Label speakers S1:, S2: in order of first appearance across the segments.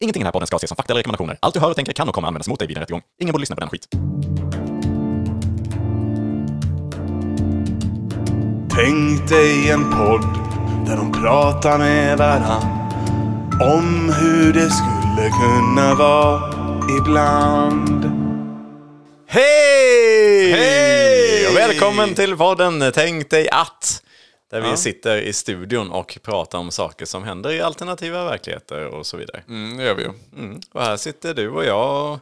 S1: Ingenting i den här podden ska ses som fakta eller rekommendationer. Allt du hör och tänker kan och kommer användas mot dig vid en rättegång. Ingen borde lyssna på den skit.
S2: Tänk dig en podd där de pratar med varann om hur det skulle kunna vara ibland. Hej!
S3: Hej! Och välkommen till podden Tänk dig att! Där vi sitter i studion och pratar om saker som händer i alternativa verkligheter och så vidare.
S4: Mm, det gör vi ju.
S3: Mm. Och här sitter du och jag.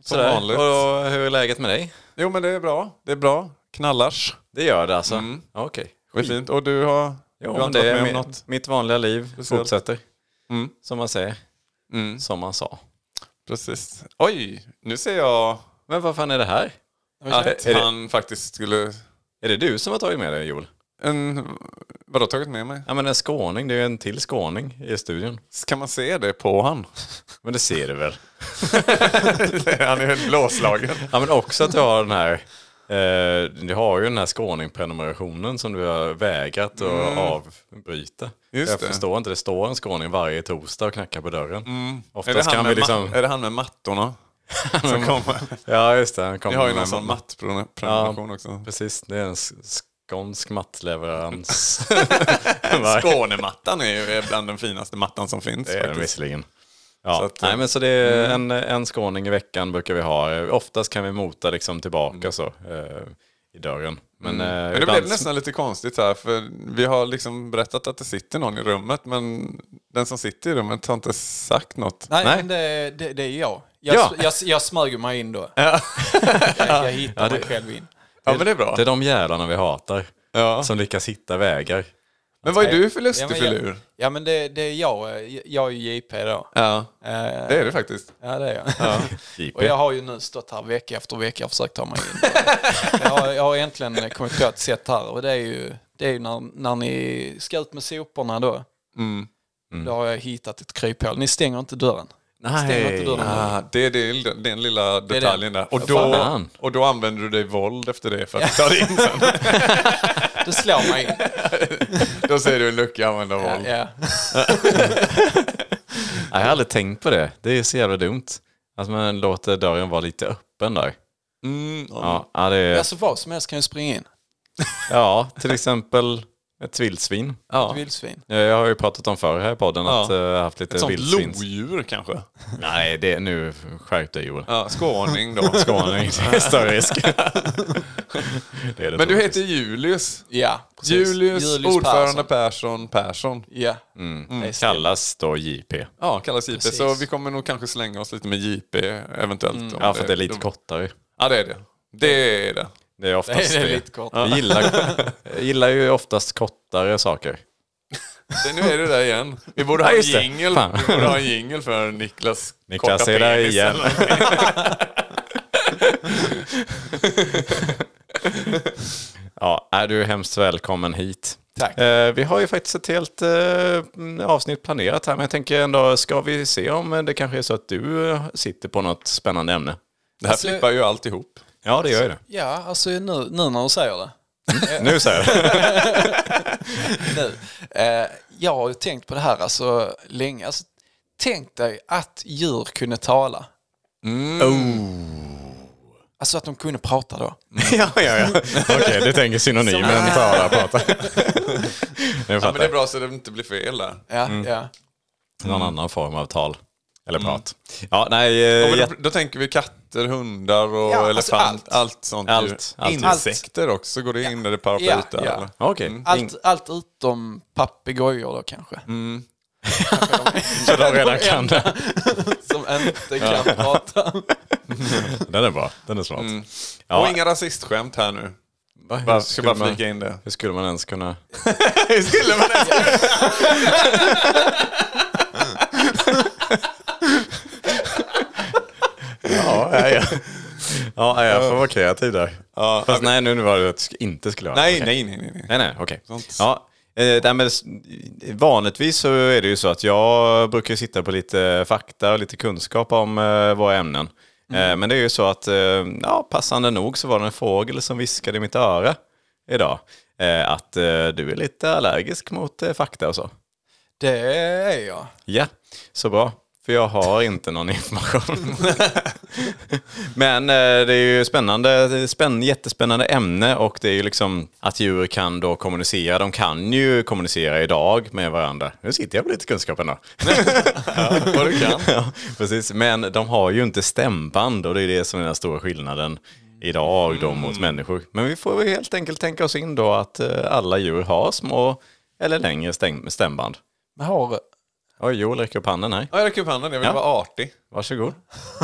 S3: Som
S4: vanligt.
S3: Och hur är läget med dig?
S4: Jo, men det är bra. Det är bra. Knallars.
S3: Det gör det alltså? Ja, Okej.
S4: Mm. Det är fint. Och du har,
S3: Jo,
S4: du har
S3: men
S4: inte
S3: det
S4: varit
S3: är
S4: med
S3: mi-
S4: om något?
S3: mitt vanliga liv
S4: Speciellt.
S3: fortsätter.
S4: Mm.
S3: Som man säger.
S4: Mm.
S3: Som man sa.
S4: Precis. Oj, nu ser jag
S3: Men vad fan är det här?
S4: att
S3: är det-
S4: han faktiskt skulle...
S3: Är det du som har tagit med dig Joel?
S4: En, vadå, tagit med mig?
S3: Ja men en skåning, det är ju en till skåning i studion.
S4: Kan man se det på han?
S3: Men det ser du väl?
S4: han är helt blåslagen.
S3: Ja men också att du har den här eh, du har ju den här skåningprenumerationen som du har vägrat att avbryta.
S4: Mm. Just
S3: jag
S4: det.
S3: förstår inte, det står en skåning varje torsdag och knackar på dörren. Mm.
S4: Är det,
S3: Oftast
S4: han
S3: kan vi
S4: med
S3: liksom...
S4: ma- är det han med mattorna? Som kommer?
S3: Ja just det, han
S4: Ni
S3: kommer
S4: har ju
S3: med
S4: någon sån
S3: ma-
S4: mattprenumeration också.
S3: Precis, det är en s- skånsk mattleverans.
S4: Skånemattan är ju bland den finaste mattan som finns.
S3: Det är den
S4: faktiskt.
S3: visserligen. Ja.
S4: Så att, mm.
S3: Nej, men så det är en, en skåning i veckan brukar vi ha. Oftast kan vi mota liksom tillbaka så eh, i dörren. Men, eh,
S4: Mm. Men det
S3: ibland-
S4: blev nästan lite konstigt här för vi har liksom berättat att det sitter någon i rummet men den som sitter i rummet har inte sagt något.
S5: Nej,
S3: Nej.
S5: Men det, det, det är jag. Jag,
S3: Ja.
S5: jag, jag smög mig in då. Jag, jag hittar mig själv in.
S4: Ja men det är bra.
S3: Det är de jävlarna vi hatar.
S4: Ja.
S3: Som lyckas hitta vägar.
S4: Men vad är du för
S5: Ja,
S4: lustig
S5: men jag,
S4: filur?
S5: ja, men det, det är jag. Eh, Jag är ju JP då.
S4: Ja.
S5: Eh,
S4: Det är du faktiskt.
S5: Ja, det är jag. Och jag har ju nu stått här vecka efter vecka och försökt ta mig in. jag, har, jag har äntligen kommit på ett sätt här och det är ju, det är ju när, när ni ska ut med soporna då.
S4: Mm.
S5: Då har jag hittat ett kryphål. Ni stänger inte dörren. Stänger inte dörren.
S4: Ah, det är det- den, lilla
S5: är
S4: detaljen där. Och då,
S3: Fan.
S4: och då använder du dig våld efter det för att ta dig in sen.
S5: Det slår mig in.
S4: Då säger du en lucka använda
S5: Ja,
S4: våld.
S5: ja.
S3: Nej, jag har aldrig tänkt på det. Det är så jävla dumt. Att man låter dörren vara lite öppen där.
S4: Mm, ja.
S3: Ja, ja, det är,
S5: Alltså vad som helst kan ju springa in.
S3: ja till exempel ett vildsvin. Ja.
S5: Vildsvin.
S3: Jag har ju pratat om förr här i podden att
S4: Ja.
S3: eh, jag har haft lite
S4: Sånt
S3: vildsvins...
S4: lodjur kanske?
S3: Nej, det, nu skärp dig Joel.
S4: Ja, skåning då.
S3: Skåning, det är större risk. det är det
S4: Men du
S3: troligtvis.
S4: heter Julius.
S5: Ja, precis.
S4: Julius, ordförande Mm,
S5: Persson.
S4: Persson
S5: Mm.
S4: Persson.
S5: Ja. Det är sant.
S3: kallas då JP.
S4: Ja, kallas JP.
S5: Precis.
S4: Så vi kommer nog kanske slänga oss lite med JP eventuellt. om
S3: Ja, för att det är lite
S4: då-
S3: kortare.
S4: Ja, det är det. Det är det.
S3: Det är oftast
S5: Det
S3: det.
S5: är lite kort.
S3: Jag gillar, jag gillar ju oftast kortare saker.
S4: det nu är det där igen. Vi borde
S3: Ja,
S4: ha en
S3: just det.
S4: jingel.
S3: Fan.
S4: Vi borde ha en jingel för Niklas
S3: Niklas
S4: korta
S3: är där
S4: penis
S3: igen.
S4: eller någonting.
S3: Ja, är du hemskt välkommen hit.
S5: Tack.
S3: Eh, vi har ju faktiskt ett helt eh, avsnitt planerat här, men jag tänker ändå, ska vi se om det kanske är så att du eh, sitter på något spännande ämne?
S4: Det här flippar ju alltihop.
S3: Ja, det gör ju det.
S5: Ja, alltså nu, nu när du säger det.
S3: Nu så här.
S5: Nu. Eh, jag har ju tänkt på det här alltså länge. Alltså, tänk dig att djur kunde tala. Mm.
S4: Oh.
S5: Alltså att de kunde prata då.
S3: ja, ja, ja. Okej, du tänker synonymen bara prata. Nu
S4: Ja, men
S3: fattar
S4: det är
S3: jag.
S4: bra så det inte blir fel där.
S5: Ja, ja.
S3: Någon annan form av tal. Eller prat. Ja, nej. eh,
S4: Mm. Ja, men
S3: jätte-
S4: då, då tänker vi katter, hundar och
S5: Ja, alltså
S4: elefant.
S5: allt.
S4: allt. sånt.
S3: Allt,
S4: ju.
S3: allt.
S4: Insekter också. Går det in där i paraplyet?
S5: Ja,
S4: där,
S5: ja.
S4: eller?
S3: Okej.
S5: Allt, allt utom papegojor då kanske.
S3: Så de redan kan det.
S5: Som inte kan prata.
S3: Den är bra. Den är smart.
S4: Och
S3: Ja.
S4: inga rasistskämt här nu.
S3: Va, hur
S4: Bara, ska
S3: skulle
S4: bara
S3: man-
S4: flika in det.
S3: Hur skulle man ens kunna...
S4: skulle man
S3: Ja, ja, ja. ja jag får vara kreativ där.
S4: Ja,
S3: Fast nej, nu var det att jag inte skulle vara
S4: Nej,
S3: det.
S4: nej, nej, nej, nej.
S3: Nej, nej, okej.
S4: Sånt.
S3: Ja, eh, nej, men s- vanligtvis så är det ju så att jag brukar ju sitta på lite fakta och lite kunskap om eh, våra ämnen.
S4: Mm.
S3: Eh, men det är ju så att, eh, ja, passande nog så var det en fågel som viskade i mitt öra idag. Eh, att eh, du är lite allergisk mot eh, fakta och så.
S5: Det är jag.
S3: Ja, så bra. För jag har inte någon information. Men eh, det är ju spännande, spänn, jättespännande ämne och det är ju liksom att djur kan då kommunicera. De kan ju kommunicera idag med varandra. Nu sitter jag på lite kunskap ändå.
S4: Vad du kan.
S3: ja, precis. Men de har ju inte stämband och det är det som är den stora skillnaden idag
S4: Mm.
S3: då mot människor. Men vi får väl helt enkelt tänka oss in då att eh, alla djur har små eller längre stäng- stämband.
S5: Men har...
S3: Oj, Joel räcker upp handen här.
S4: Ja, jag räcker upp handen. Jag vill
S3: Ja.
S4: vara artig.
S3: Varsågod.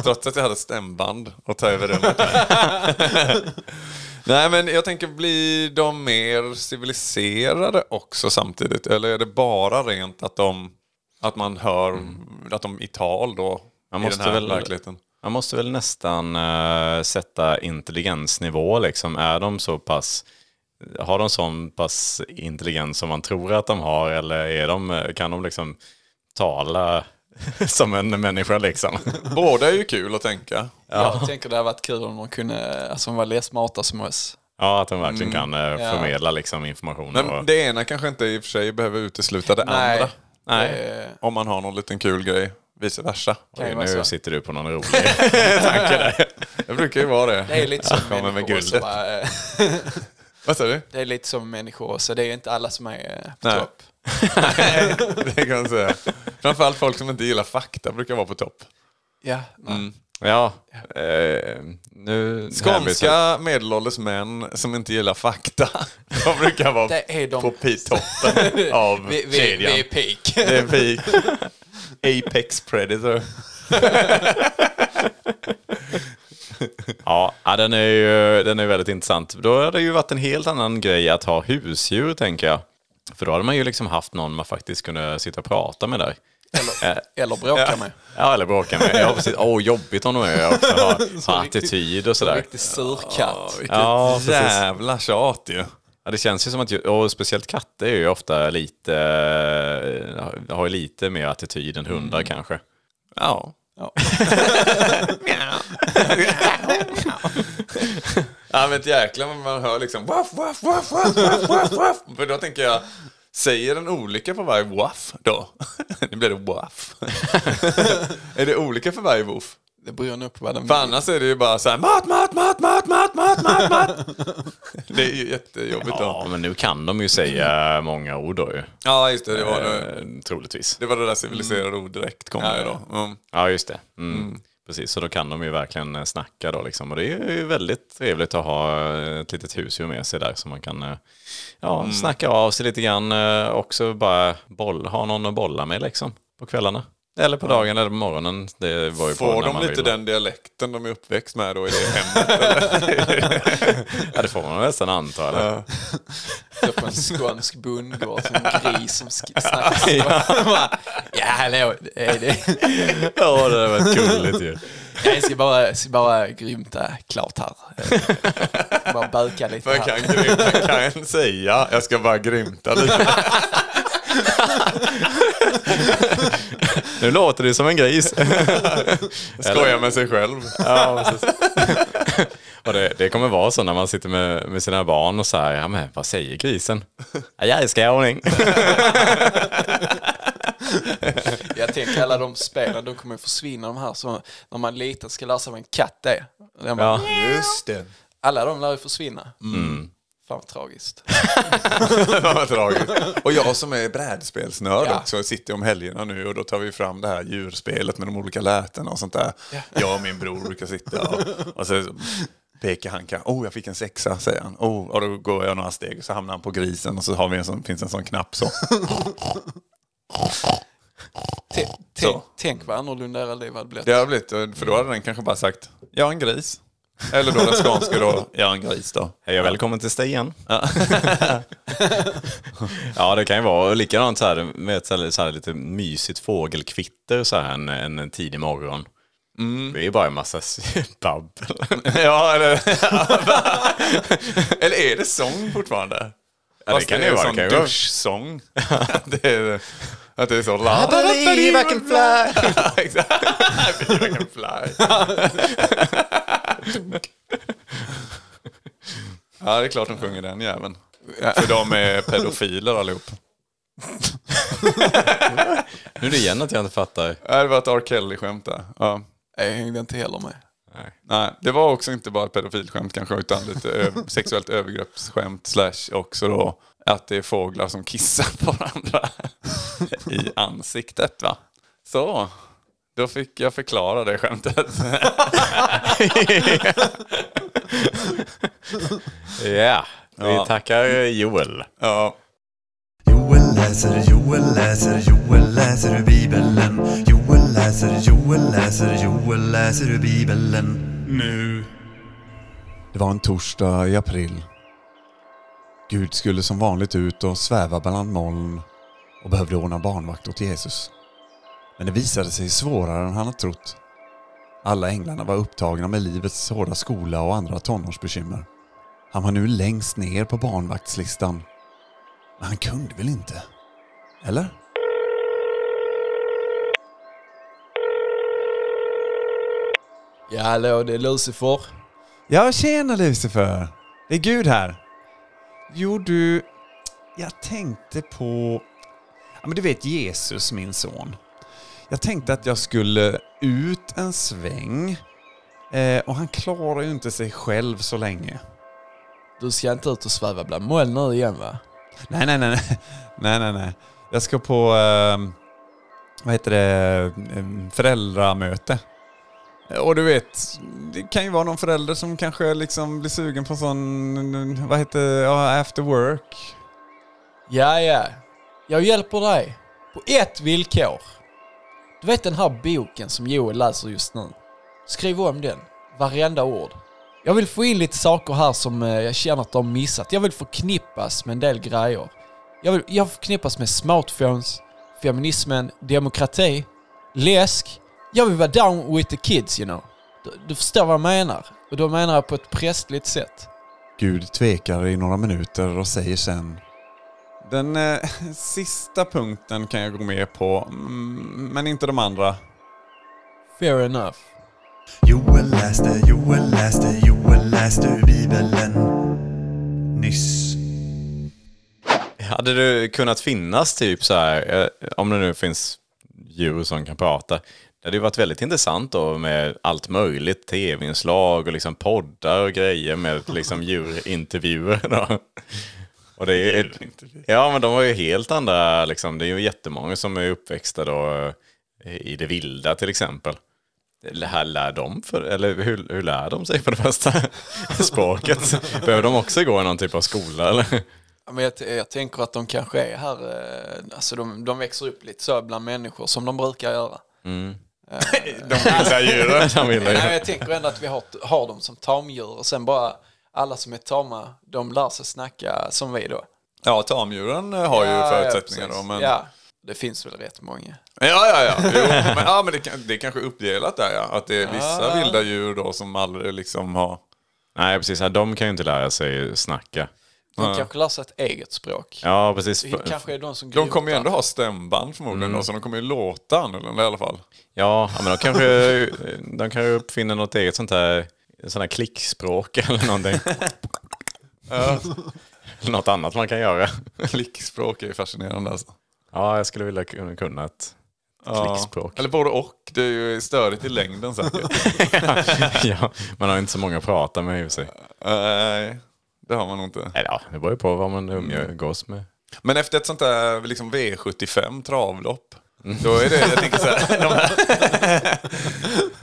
S4: Trots att jag hade stämband och ta över rummet. Nej, men jag tänker, blir de mer civiliserade också samtidigt? Eller är det bara rent att de att man hör att de i tal då?
S3: Man
S4: i
S3: måste
S4: den här
S3: väl-
S4: verkligheten.
S3: Man måste väl nästan eh, sätta intelligensnivå liksom. Är de så pass, har de sån pass intelligens som man tror att de har eller är de, eh, kan de liksom tala som en människa liksom?
S4: Båda är ju kul att tänka.
S5: Jag tänker det hade varit kul om de kunde, alltså de var lite smarta som oss.
S3: Ja, att de verkligen kan eh,
S5: Mm, ja.
S3: förmedla liksom information.
S4: Men
S3: och,
S4: det ena kanske inte i och för sig behöver utesluta det andra.
S3: nej,
S5: Eh,
S4: Om man har någon liten kul grej, vice versa.
S5: kan ju
S3: nu
S5: vara så.
S3: sitter du på någon rolig.
S4: Det brukar ju vara det.
S5: Det är lite som
S4: Kommer med
S5: människor också.
S4: guldet.
S5: va? Eh,
S4: Vad sa du?
S5: Det är lite som människor så det är inte alla som är eh, på
S4: Nej.
S5: topp.
S4: Det kan man säga. Framförallt folk som inte gillar fakta brukar vara på topp.
S5: Ja, nej.
S3: ja, eh, nu...
S4: Skånska medelålders män som inte gillar fakta. De brukar vara
S5: Det är de.
S4: på pi- toppen av
S5: Vi, vi,
S4: kedjan.
S5: vi är peak.
S4: Det är vi. Apex predator.
S3: Ja, ja, den är ju den är väldigt intressant. Då hade det ju varit en helt annan grej att ha husdjur, tänker jag. För då hade man ju liksom haft någon man faktiskt kunde sitta och prata med där. Eh,
S5: Eller, eller bråkar med.
S3: Ja, eller bråka med. Ja, precis. Åh, jobbigt om de är och också har, har attityd och sådär.
S5: Riktig surkatt.
S3: Ja, precis.
S4: Jävla tjat ju.
S3: Ja, det känns ju som att, ju- och speciellt katter är ju ofta lite, eh, har ju lite mer attityd än hundar kanske.
S4: Ja.
S5: Ja.
S4: Ja men jäklar men man hör liksom waff, waff, waff, waff, waff, waff, waff. För då tänker jag, säger den olika för varje waff då? Nu blir det waff. är det olika för varje woof?
S5: Det beror nog på vad den
S4: För annars är det ju bara så här mat, mat, mat, mat, mat, mat, mat, mat. Det är ju jättejobbigt då.
S3: Ja, men nu kan de ju säga många ord då ju.
S4: Ja just det, det var det.
S3: Eh, troligtvis.
S4: Det var det där civiliserade orddräkt kom det då. Mm.
S3: Ja, just det. Mm. Precis, så då kan de ju verkligen eh, snacka då liksom. Och det är ju väldigt trevligt att ha eh, ett litet husdjur med sig där som man kan eh, ja,
S4: Mm.
S3: snacka av sig lite grann. eh, Också bara boll, ha någon att bolla med liksom på kvällarna. Eller på dagen eller på morgonen. Det var ju på
S4: Får
S3: när
S4: de
S3: man
S4: lite
S3: vill.
S4: den dialekten de är uppväxt med då i det hemmet?
S3: Ja, det får man nästan anta. Eller?
S5: sitter på en skånsk bondgård som en gris som sk- snackar skånska. Bara, Ja, hallå. Det är det.
S3: Ja, det var ett gulligt ju.
S5: Jag ska bara, ska bara grymta klart här. Bara böka lite
S4: Vad
S5: här.
S4: kan, grym- kan säga? Jag ska bara grymta lite.
S3: Nu låter det som en gris.
S4: Skoja med sig själv.
S3: Och det, det kommer vara så när man sitter med, med sina barn och så här, ja men vad säger grisen? Ja, jag är skåning.
S5: Jag tänker alla de spelen, de kommer ju försvinna de här. Så när man är liten ska lära sig vad en katt är. Och den bara,
S3: Ja.
S4: Just det.
S5: Alla de lär ju försvinna. Fan vad tragiskt.
S4: Fan vad tragiskt. Och jag som är brädspelsnörd
S5: Ja.
S4: också sitter om helgerna nu och då tar vi fram det här djurspelet med de olika lätena och sånt där. Jag och min bror brukar sitta och, och så pekar han kan, oh jag fick en sexa säger han. Oh, och då går jag några steg och så hamnar han på grisen och så har vi en sån, finns en sån knapp så.
S5: Tänk,
S4: Så.
S5: tänk, tänk vad annorlunda era liv hade blivit.
S4: Det har blivit, för då hade den kanske bara sagt, jag är en gris. Eller då den skånska då, jag är en gris då.
S3: Hej och välkommen till Stigen. ja, det kan ju vara Och likadant så här med ett så här, så här lite mysigt fågelkvitter så här en, en, en tidig morgon. Det är ju bara en massa s- babbel.
S4: Ja, eller, eller är det sång fortfarande?
S3: det
S4: Fast
S3: kan det
S4: är
S3: ju vara,
S4: sån
S3: det kan ju vara.
S4: duschsång. Att det är, att det är så...
S3: believe I can fly.
S4: Exakt. I believe I can fly. Ja, det är klart de sjunger den jäveln. För de är pedofiler allihop.
S3: Nu är det igen att jag inte fattar.
S4: Ja, Det var ett R. Kelly-skämt där. Ja.
S5: Jag hängde inte heller med.
S4: Nej, det var också inte bara ett pedofilskämt kanske, utan lite ö- sexuellt övergreppsskämt slash också då att det är fåglar som kissar på varandra i ansiktet va. Så, då fick jag förklara det skämtet.
S3: Ja, vi tackar Joel.
S4: Ja,
S6: Joel läser, Joel läser, Joel läser ur Bibeln. Joel läser, Joel läser, Joel läser ur Bibeln.
S2: Nu.
S4: Det var en torsdag i april. Gud skulle som vanligt ut och sväva bland moln och behövde ordna barnvakt åt Jesus. Men det visade sig svårare än han hade trott. Alla änglarna var upptagna med livets hårda skola och andra tonårsbekymmer. Han var nu längst ner på barnvaktslistan. Men han kunde väl inte? Eller?
S5: Ja, hallå, det är Lucifer.
S4: Ja, tjena Lucifer! Det är Gud här. Jo du, jag tänkte på... Ja men du vet Jesus, min son. Jag tänkte att jag skulle ut en sväng. Eh, och han klarar ju inte sig själv så länge.
S5: Du ska inte ut och sväva bland moln nu igen va?
S4: Nej, nej, nej. nej. Nej, nej, nej. Jag ska på... Eh, vad heter det? Eh, Föräldramöte. Och du vet, det kan ju vara någon förälder som kanske liksom blir sugen på sån... Vad heter Ja, after work.
S5: Ja, ja. Jag hjälper dig. På ett villkor. Du vet den här boken som Joel läser just nu? Skriv om den. Varenda ord. Jag vill få in lite saker här som eh, jag känner att de har missat. Jag vill förknippas med en del grejer. Jag vill jag förknippas med smartphones, feminismen, demokrati, läsk. Jag vill vara down with the kids, you know. Du, du förstår vad jag menar. Och då menar jag på ett prästligt sätt.
S4: Gud tvekar i några minuter och säger sen Den eh, sista punkten kan jag gå med på, mm, men inte de andra.
S5: Fair enough.
S6: Joel läste, Joel läste, Joel läste ur Bibeln. Nyss.
S3: Hade du kunnat finnas typ så här, eh, om det nu finns djur som kan prata, det hade ju varit väldigt intressant då med allt möjligt, tv-inslag och liksom poddar och grejer med liksom djurintervjuer. Då. Och det är, ja, men de har ju helt andra, liksom, det är ju jättemånga som är uppväxta då, eh, i det vilda till exempel. Det Här lär de för, eller hur, hur lär de sig för det första språket? Behöver de också gå i någon typ av skola? Eller?
S5: Ja, Men jag, t- jag tänker att de kanske är här, eh, alltså de, de växer upp lite så bland människor som de brukar göra.
S3: De vill ju-
S5: Nej, jag tänker ändå att vi har, har dem som tamdjur och sen bara alla som är tama, de lär sig snacka som vi då.
S4: Ja, tamdjuren eh, har ju förutsättningar
S5: ja,
S4: då,
S5: precis.
S4: men...
S5: Ja, det finns väl rätt många.
S4: Ja, ja, ja. Jo, men, ja, men det, kan, det är kanske uppdelat där ja. Att det är vissa vilda djur då som aldrig liksom har...
S3: Nej, precis. här, De kan ju inte lära sig snacka.
S5: De kanske lär sig ett eget språk.
S3: Ja, precis.
S5: Det kanske är de som
S4: De kommer ju ändå ha stämband förmodligen då, så de kommer ju låta annorlunda i alla fall.
S3: Ja, ja, men de kanske, de kanske uppfinner något eget sånt här, sånt här klickspråk eller någonting. Ja. något annat man kan göra.
S4: Klickspråk är ju fascinerande alltså.
S3: Ja, jag skulle vilja kunna- kunna ett klickspråk.
S4: Eller både och, det är ju störigt i längden säkert.
S3: ja, man har ju inte så många att prata med i och för sig.
S4: Nej, det har man nog inte.
S3: Eller ja, det beror ju på vad man umgås med.
S4: Men efter ett sånt där liksom V75 travlopp. Då är det, jag tänker så här, de här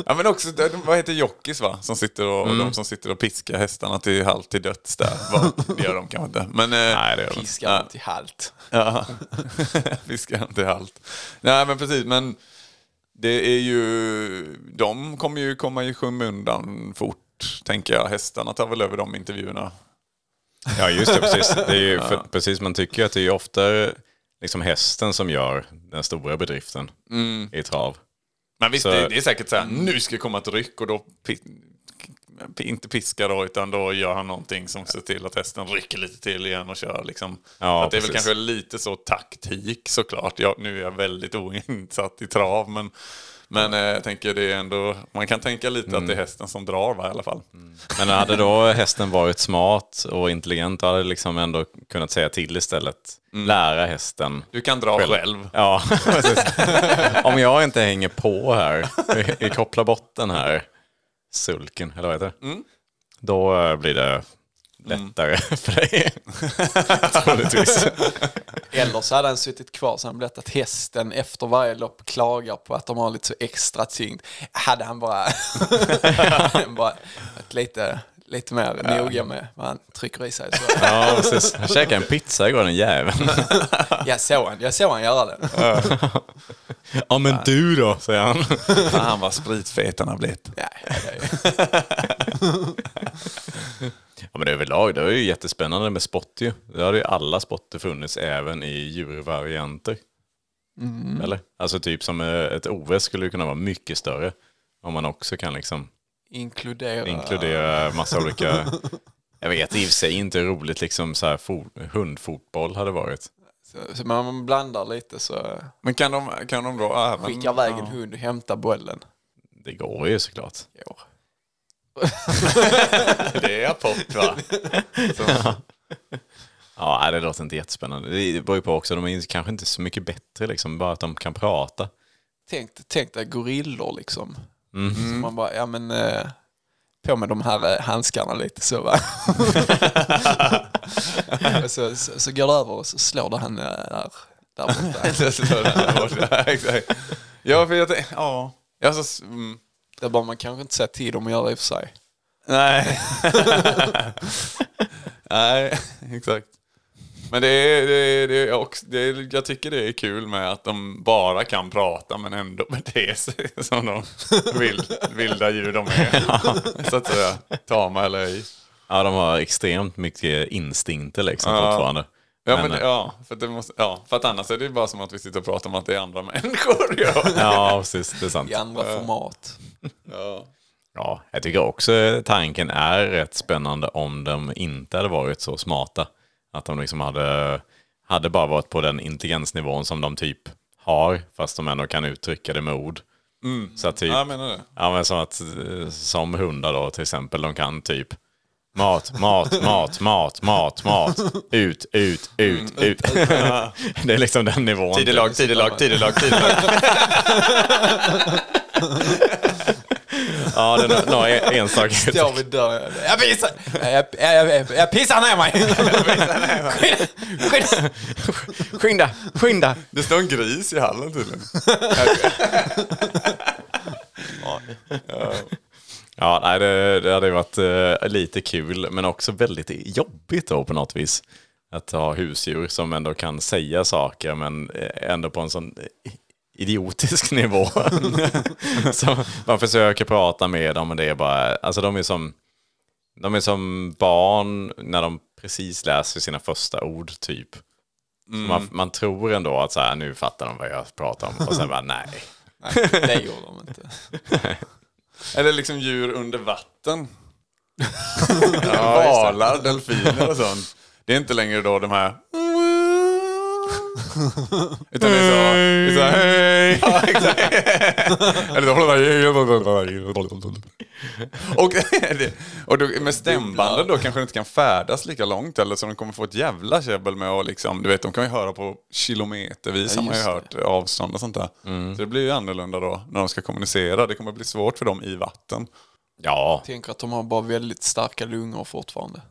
S4: Ja men också, de- vad heter jockeys va? Som sitter och, De som sitter och piskar hästarna till halt till döds där. Va? Det gör de kanske inte. Men, Nej det gör de
S5: Piskar dem till halt.
S4: Ja, fiskar inte halt. Nej men precis, men det är ju, de kommer ju komma i skymundan fort, tänker jag. Hästarna tar väl över de intervjuerna.
S3: Ja, just det. Precis. Det är ju, för, precis man tycker ju att det är ju ofta liksom hästen som gör den stora bedriften i trav.
S4: Men visst,
S3: Så-
S4: det, det är säkert så här, nu ska det komma ett ryck och då, pi- pi- inte piska då, utan då gör han någonting som ser till att hästen rycker lite till igen och kör liksom.
S3: Ja,
S4: att det är väl
S3: precis.
S4: kanske lite så taktik såklart. Jag, nu är jag väldigt oinsatt i trav, men Men eh, jag tänker det är ändå, man kan tänka lite att det är hästen som drar va, i alla fall.
S3: Men hade då hästen varit smart och intelligent då hade det liksom ändå kunnat säga till istället. Lära hästen.
S4: Du kan dra själv.
S3: Ja, precis. Om jag inte hänger på här, vi- vi kopplar bort den här sulken, eller vad heter det? Då eh, blir det lättare för dig. Troligtvis.
S5: Eller så hade han suttit kvar så han blivit att hästen efter varje lopp klagar på att de har lite så extra tyngd. Hade han bara, bara varit lite, lite mer noga med vad han trycker i sig. Så.
S3: Ja, precis. Jag käkade en pizza igår, den jäveln.
S5: Jag såg han, jag såg han göra det.
S3: Ja, men du då, säger han.
S4: Fan vad spritfet han har blivit.
S5: Nej, det är ju-
S3: Ja, men överlag, det är ju jättespännande med spott ju. Det hade ju alla spotter funnits även i djurvarianter.
S4: Mm.
S3: Eller? Alltså typ som eh, ett OS skulle ju kunna vara mycket större. Om man också kan liksom
S5: Inkludera.
S4: Ah.
S3: inkludera massa olika... Jag vet i och för sig inte hur roligt liksom så här for, hundfotboll hade varit.
S5: Så, så man blandar lite så
S4: Men kan de, kan de då även...
S5: skickar iväg en hund och hämtar bollen.
S3: Det går ju såklart.
S5: Jo.
S4: Det är pop va?
S3: Ja, nej, det låter inte jättespännande. Det beror ju på också, de är kanske inte så mycket bättre liksom, bara att de kan prata.
S5: Tänk, tänk dig gorillor liksom.
S3: Mm.
S5: Så man bara, ja men eh, på med de här eh, handskarna lite så va. och så, så, så går det över och så slår det han eh, där, där borta.
S4: Det står där borta, exakt. ja, för jag tänkte... Ja. Jag så, s- mm.
S5: Det bör man kanske inte säga till dem att göra i och för sig.
S4: Nej. Nej, exakt. Men det är, det, är, det, är också, det är, jag tycker det är kul med att de bara kan prata men ändå bete sig som de vild, vilda djur de är. Så att säga, tama eller ej.
S3: Ja, de har extremt mycket instinkter liksom
S4: Ja.
S3: fortfarande.
S4: Ja,
S3: Men,
S4: men,
S3: eh,
S4: ja, för att det måste, ja, för att annars är det ju bara som att vi sitter och pratar om att det är andra människor. Ja.
S3: Ja, precis. Det är sant.
S5: I andra format.
S4: Ja.
S3: Ja, jag tycker också tanken är rätt spännande om de inte hade varit så smarta. Att de liksom hade, hade bara varit på den intelligensnivån som de typ har, fast de ändå kan uttrycka det med ord. Så att typ,
S4: Ja, jag menar det.
S3: Ja, men som, att, eh, som hundar då till exempel, de kan typ mat, mat, mat, mat, mat, mat, ut, ut, ut, ut. Det är liksom den nivån.
S4: Tidelag, tidelag, tidelag, tidelag.
S3: Ja, det är no- några en- enstaka
S5: Står vid dörren. Jag pissar, jag, jag, jag, jag pissar ner mig. Skynda, skynda.
S3: Skynda, skynda.
S4: Det står en gris i hallen tydligen.
S3: Ja, nej, det, det hade ju varit eh, lite kul, men också väldigt jobbigt då på något vis. Att ha husdjur som ändå kan säga saker, men eh, ändå på en sån eh, idiotisk nivå. så man försöker prata med dem, men det är bara, alltså de är som, de är som barn när de precis läser sina första ord, typ. Så man, man tror ändå att så här, nu fattar de vad jag pratar om, och sen bara nej.
S5: Nej, det gjorde de inte.
S4: Eller liksom djur under vatten. Valar, delfiner och sånt. Det är inte längre då de här... Utan det är så... Det är så hej! Ja, exakt. Eller då håller de och, och då, med stämbanden då kanske de inte kan färdas lika långt eller så de kommer få ett jävla käbbel med och liksom, du vet de kan ju höra på kilometervis har man ju
S5: just det. Mm.
S4: hört avstånd och sånt där. Så det blir ju annorlunda då när de ska kommunicera. Det kommer bli svårt för dem i vatten.
S3: Ja,
S5: Tänker att de har bara väldigt starka lungor fortfarande.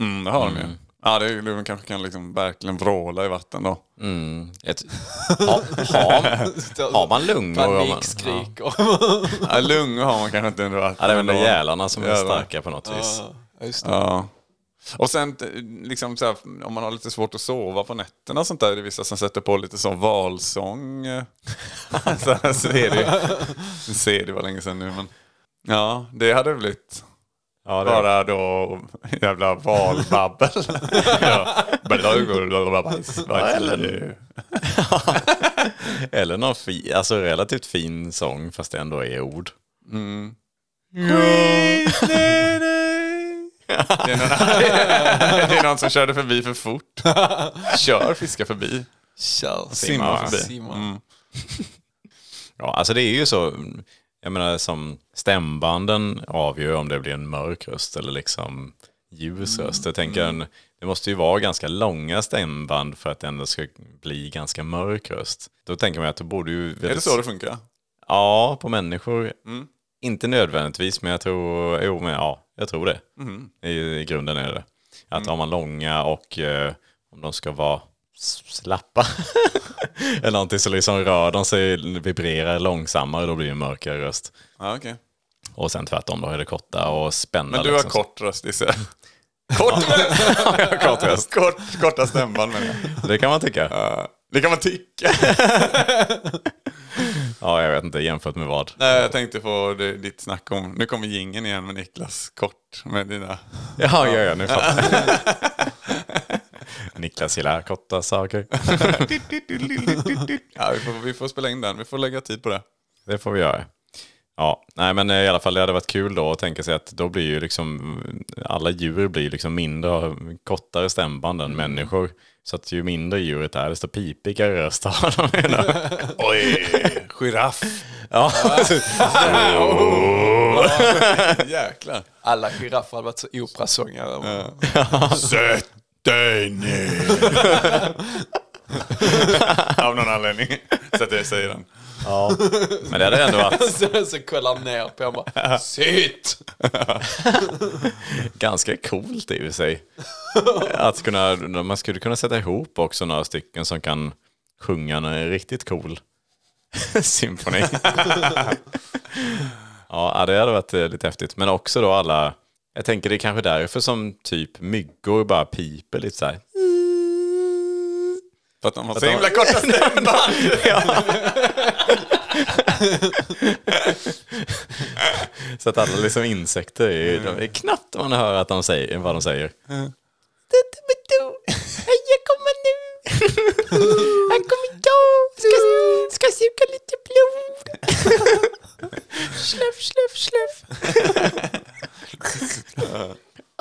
S4: Mm, det har de ju. Ja, det, är- de kanske kan liksom verkligen vråla i vatten då.
S3: ett, ha, ha, har man lungor? om man-
S5: Panikskrik och...
S4: Ja, lungor har man kanske inte under vatten.
S3: Ja, det är väl de
S4: ändå.
S3: gälarna som är
S4: Jävlar.
S3: starka på något vis.
S5: Ja, just det.
S4: Ja. Och sen eh, liksom så här, om man har lite svårt att sova på nätterna och sånt där, det är vissa som sätter på lite sån valsång. eh. så här ser det Nu ser det var länge sedan nu men. Ja, det hade blivit
S3: Ja, det,
S4: bara då jävla valbabbel. ja. Eller-
S3: eller någon fi, alltså relativt fin sång fast det ändå är ord.
S4: Det är, någon, det är någon som körde förbi för fort. Kör fiska förbi.
S5: Kör.
S4: Simma
S5: Simma.
S3: Mm.
S4: förbi.
S5: Simma.
S4: Mm.
S3: Ja, alltså det är ju så, jag menar som stämbanden avgör om det blir en mörk röst eller liksom ljus röst. Jag tänker en, det måste ju vara ganska långa stämband för att det ändå ska bli ganska mörk röst. Då tänker man ju att det borde ju...
S4: Är det så det funkar?
S3: Ja, på människor. Inte nödvändigtvis, men jag tror, jo, men ja, jag tror det. I, I grunden är det Att har man långa och eh, om de ska vara s- slappa eller någonting så liksom rör de sig, vibrerar långsammare, då blir det en mörkare röst.
S4: Ja, okej.
S3: Och sen tvärtom, då är det korta och spända.
S4: Men du har
S3: liksom.
S4: kort röst, Lisse. Kort, kort röst. Kort, korta stämband menar jag.
S3: Det kan man tycka. Ja.
S4: Ja, Det kan man tycka.
S3: jag vet inte, jämfört med vad.
S4: Nej, jag tänkte på det- ditt snack om, nu kommer gingen igen med Niklas, kort med dina...
S3: Ja, ja, ja, nu fattar jag. Niklas gillar korta saker.
S4: Ja, vi får, vi får spela in den, vi får lägga tid på det.
S3: Det får vi göra. Ja, nej men eh, i alla fall det hade varit kul då att tänka sig att då blir ju liksom alla djur blir liksom mindre och kortare stämband
S4: Mm.
S3: än människor. Så att ju mindre djuret är desto pipigare röst har de. menar jag.
S4: Oj, giraff.
S3: Ja,
S4: Jäklar.
S5: Alla giraffer hade varit så operasångare.
S4: Sätt dig ner. Av någon anledning. Så att jag säger den.
S3: men det hade ändå varit
S5: så, så kollar han ner på honom bara, Sitt!
S3: ganska coolt i och för sig. Att kunna, man skulle kunna sätta ihop också några stycken som kan sjunga en riktigt cool symfoni. ja, ja, det hade varit eh, lite häftigt. Men också då alla, jag tänker det är kanske därför som typ myggor bara piper lite så här.
S4: För att de har så
S3: de-
S4: himla korta stämband.
S3: Så att alla liksom insekter, är, det är knappt man hör att de säger, vad de säger. Jag kommer nu. Han kommer då. Ska, ska suga lite blod. Släpp, släpp, släpp.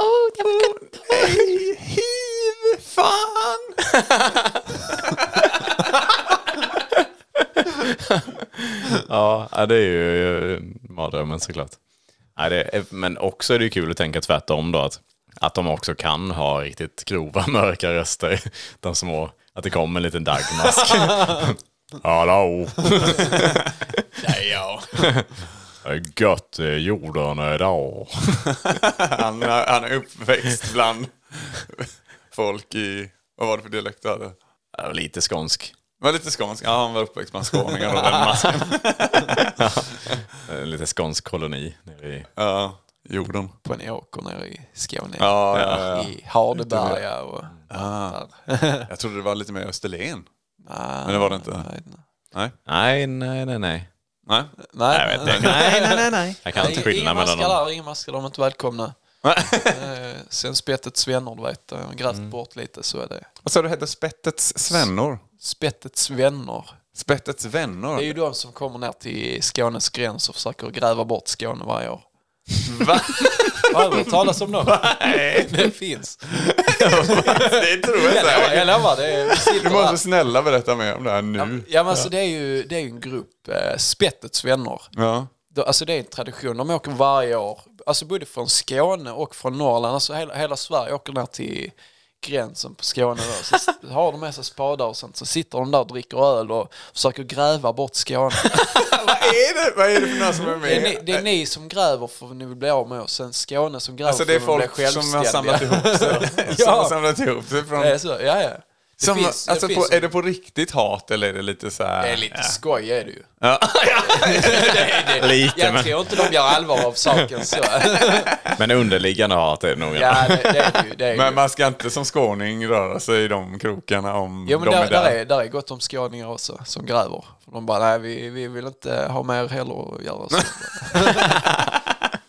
S3: Åh, jag kan Hej, hiv, fan. ja, ja, det är ju eh, mardrömmen såklart. Nej, det är, men också är det ju kul att tänka tvärtom då. Att, att de också kan ha riktigt grova mörka röster. De små. Att det kommer en liten dagmask. Hallå!
S4: Nej, ja.
S3: Det är Gött i jorden idag.
S4: Han, är- han är uppväxt bland folk i... Vad var det för dialekt du hade?
S3: Det var Lite skånsk.
S4: Men lite skånsk. Ja, han var uppväxt bland skåningar och den masken.
S3: Eh, Lite skånsk koloni. nere i-
S4: Ja, jorden.
S5: På en åker nere i Skåne.
S4: Ja, ja, ja.
S5: I Hardeberga och...
S4: Ah, jag trodde det var lite mer Österlen.
S5: Nej,
S4: Men det var det inte.
S5: Ah, nej, nej.
S3: Nej, nej, nej, nej.
S4: Nej.
S5: Nej,
S3: Jag vet inte.
S5: nej, nej, nej, nej.
S3: Jag kan inte skillnad
S5: Inga
S3: mellan
S5: maskar
S3: dem.
S5: där, inga maskar, de är inte välkomna. Eh, Sen spettets vänner, du vet, de har grävt
S4: Mm.
S5: bort lite så är det.
S4: Vad sa du hette? Spettets svennor?
S5: Spettets vänner,
S4: Spettets vänner?
S5: det är ju de som kommer ner till Skånes gräns och försöker gräva bort Skåne varje år.
S4: Va?
S5: Har du hört talas om dem? Nej. Det finns.
S4: det tror jag
S5: Jag lovar, jag lovar det är, vi sitter
S4: Du
S5: här.
S4: måste snälla berätta mer om det här nu.
S5: Ja, men alltså det är ju det är ju en grupp, eh, Spettets vänner.
S4: Ja.
S5: Då- Alltså det är en tradition, de åker varje år, alltså både från Skåne och från Norrland, alltså hela, hela Sverige åker ner till gränsen på Skåne då. Så s- har de med sig spadar och sånt, så sitter de där och dricker öl och försöker gräva bort Skåne.
S4: Vad är det? Vad är det för några som är med?
S5: Det är ni, det är ni som gräver för att ni vill bli av med oss, sen Skåne som gräver
S4: Alltså det är
S5: för
S4: folk
S5: att de blir
S4: som har
S5: självständiga.
S4: samlat ihop sig. Som har samlat ihop sig från...
S5: Eh, Det är så, ja, ja. Det
S4: som,
S5: finns-
S4: alltså
S5: det
S4: på,
S5: finns-
S4: är det på riktigt hat eller är det lite så här...
S5: Det är lite skoj är det ju.
S4: Ja.
S5: det, det,
S3: Lite,
S5: jag
S3: men-
S5: tror inte de gör allvar av saken så.
S3: Men underliggande hat är det nog.
S5: ja, det, det är det ju. Det är
S4: Men
S5: ju.
S4: man ska inte som skåning röra sig i de krokarna om
S5: Jo, men
S4: de
S5: där,
S4: är där.
S5: där, är, där är gott om skåningar också som gräver. För de bara, nej vi, vi vill inte ha med er heller att göra så.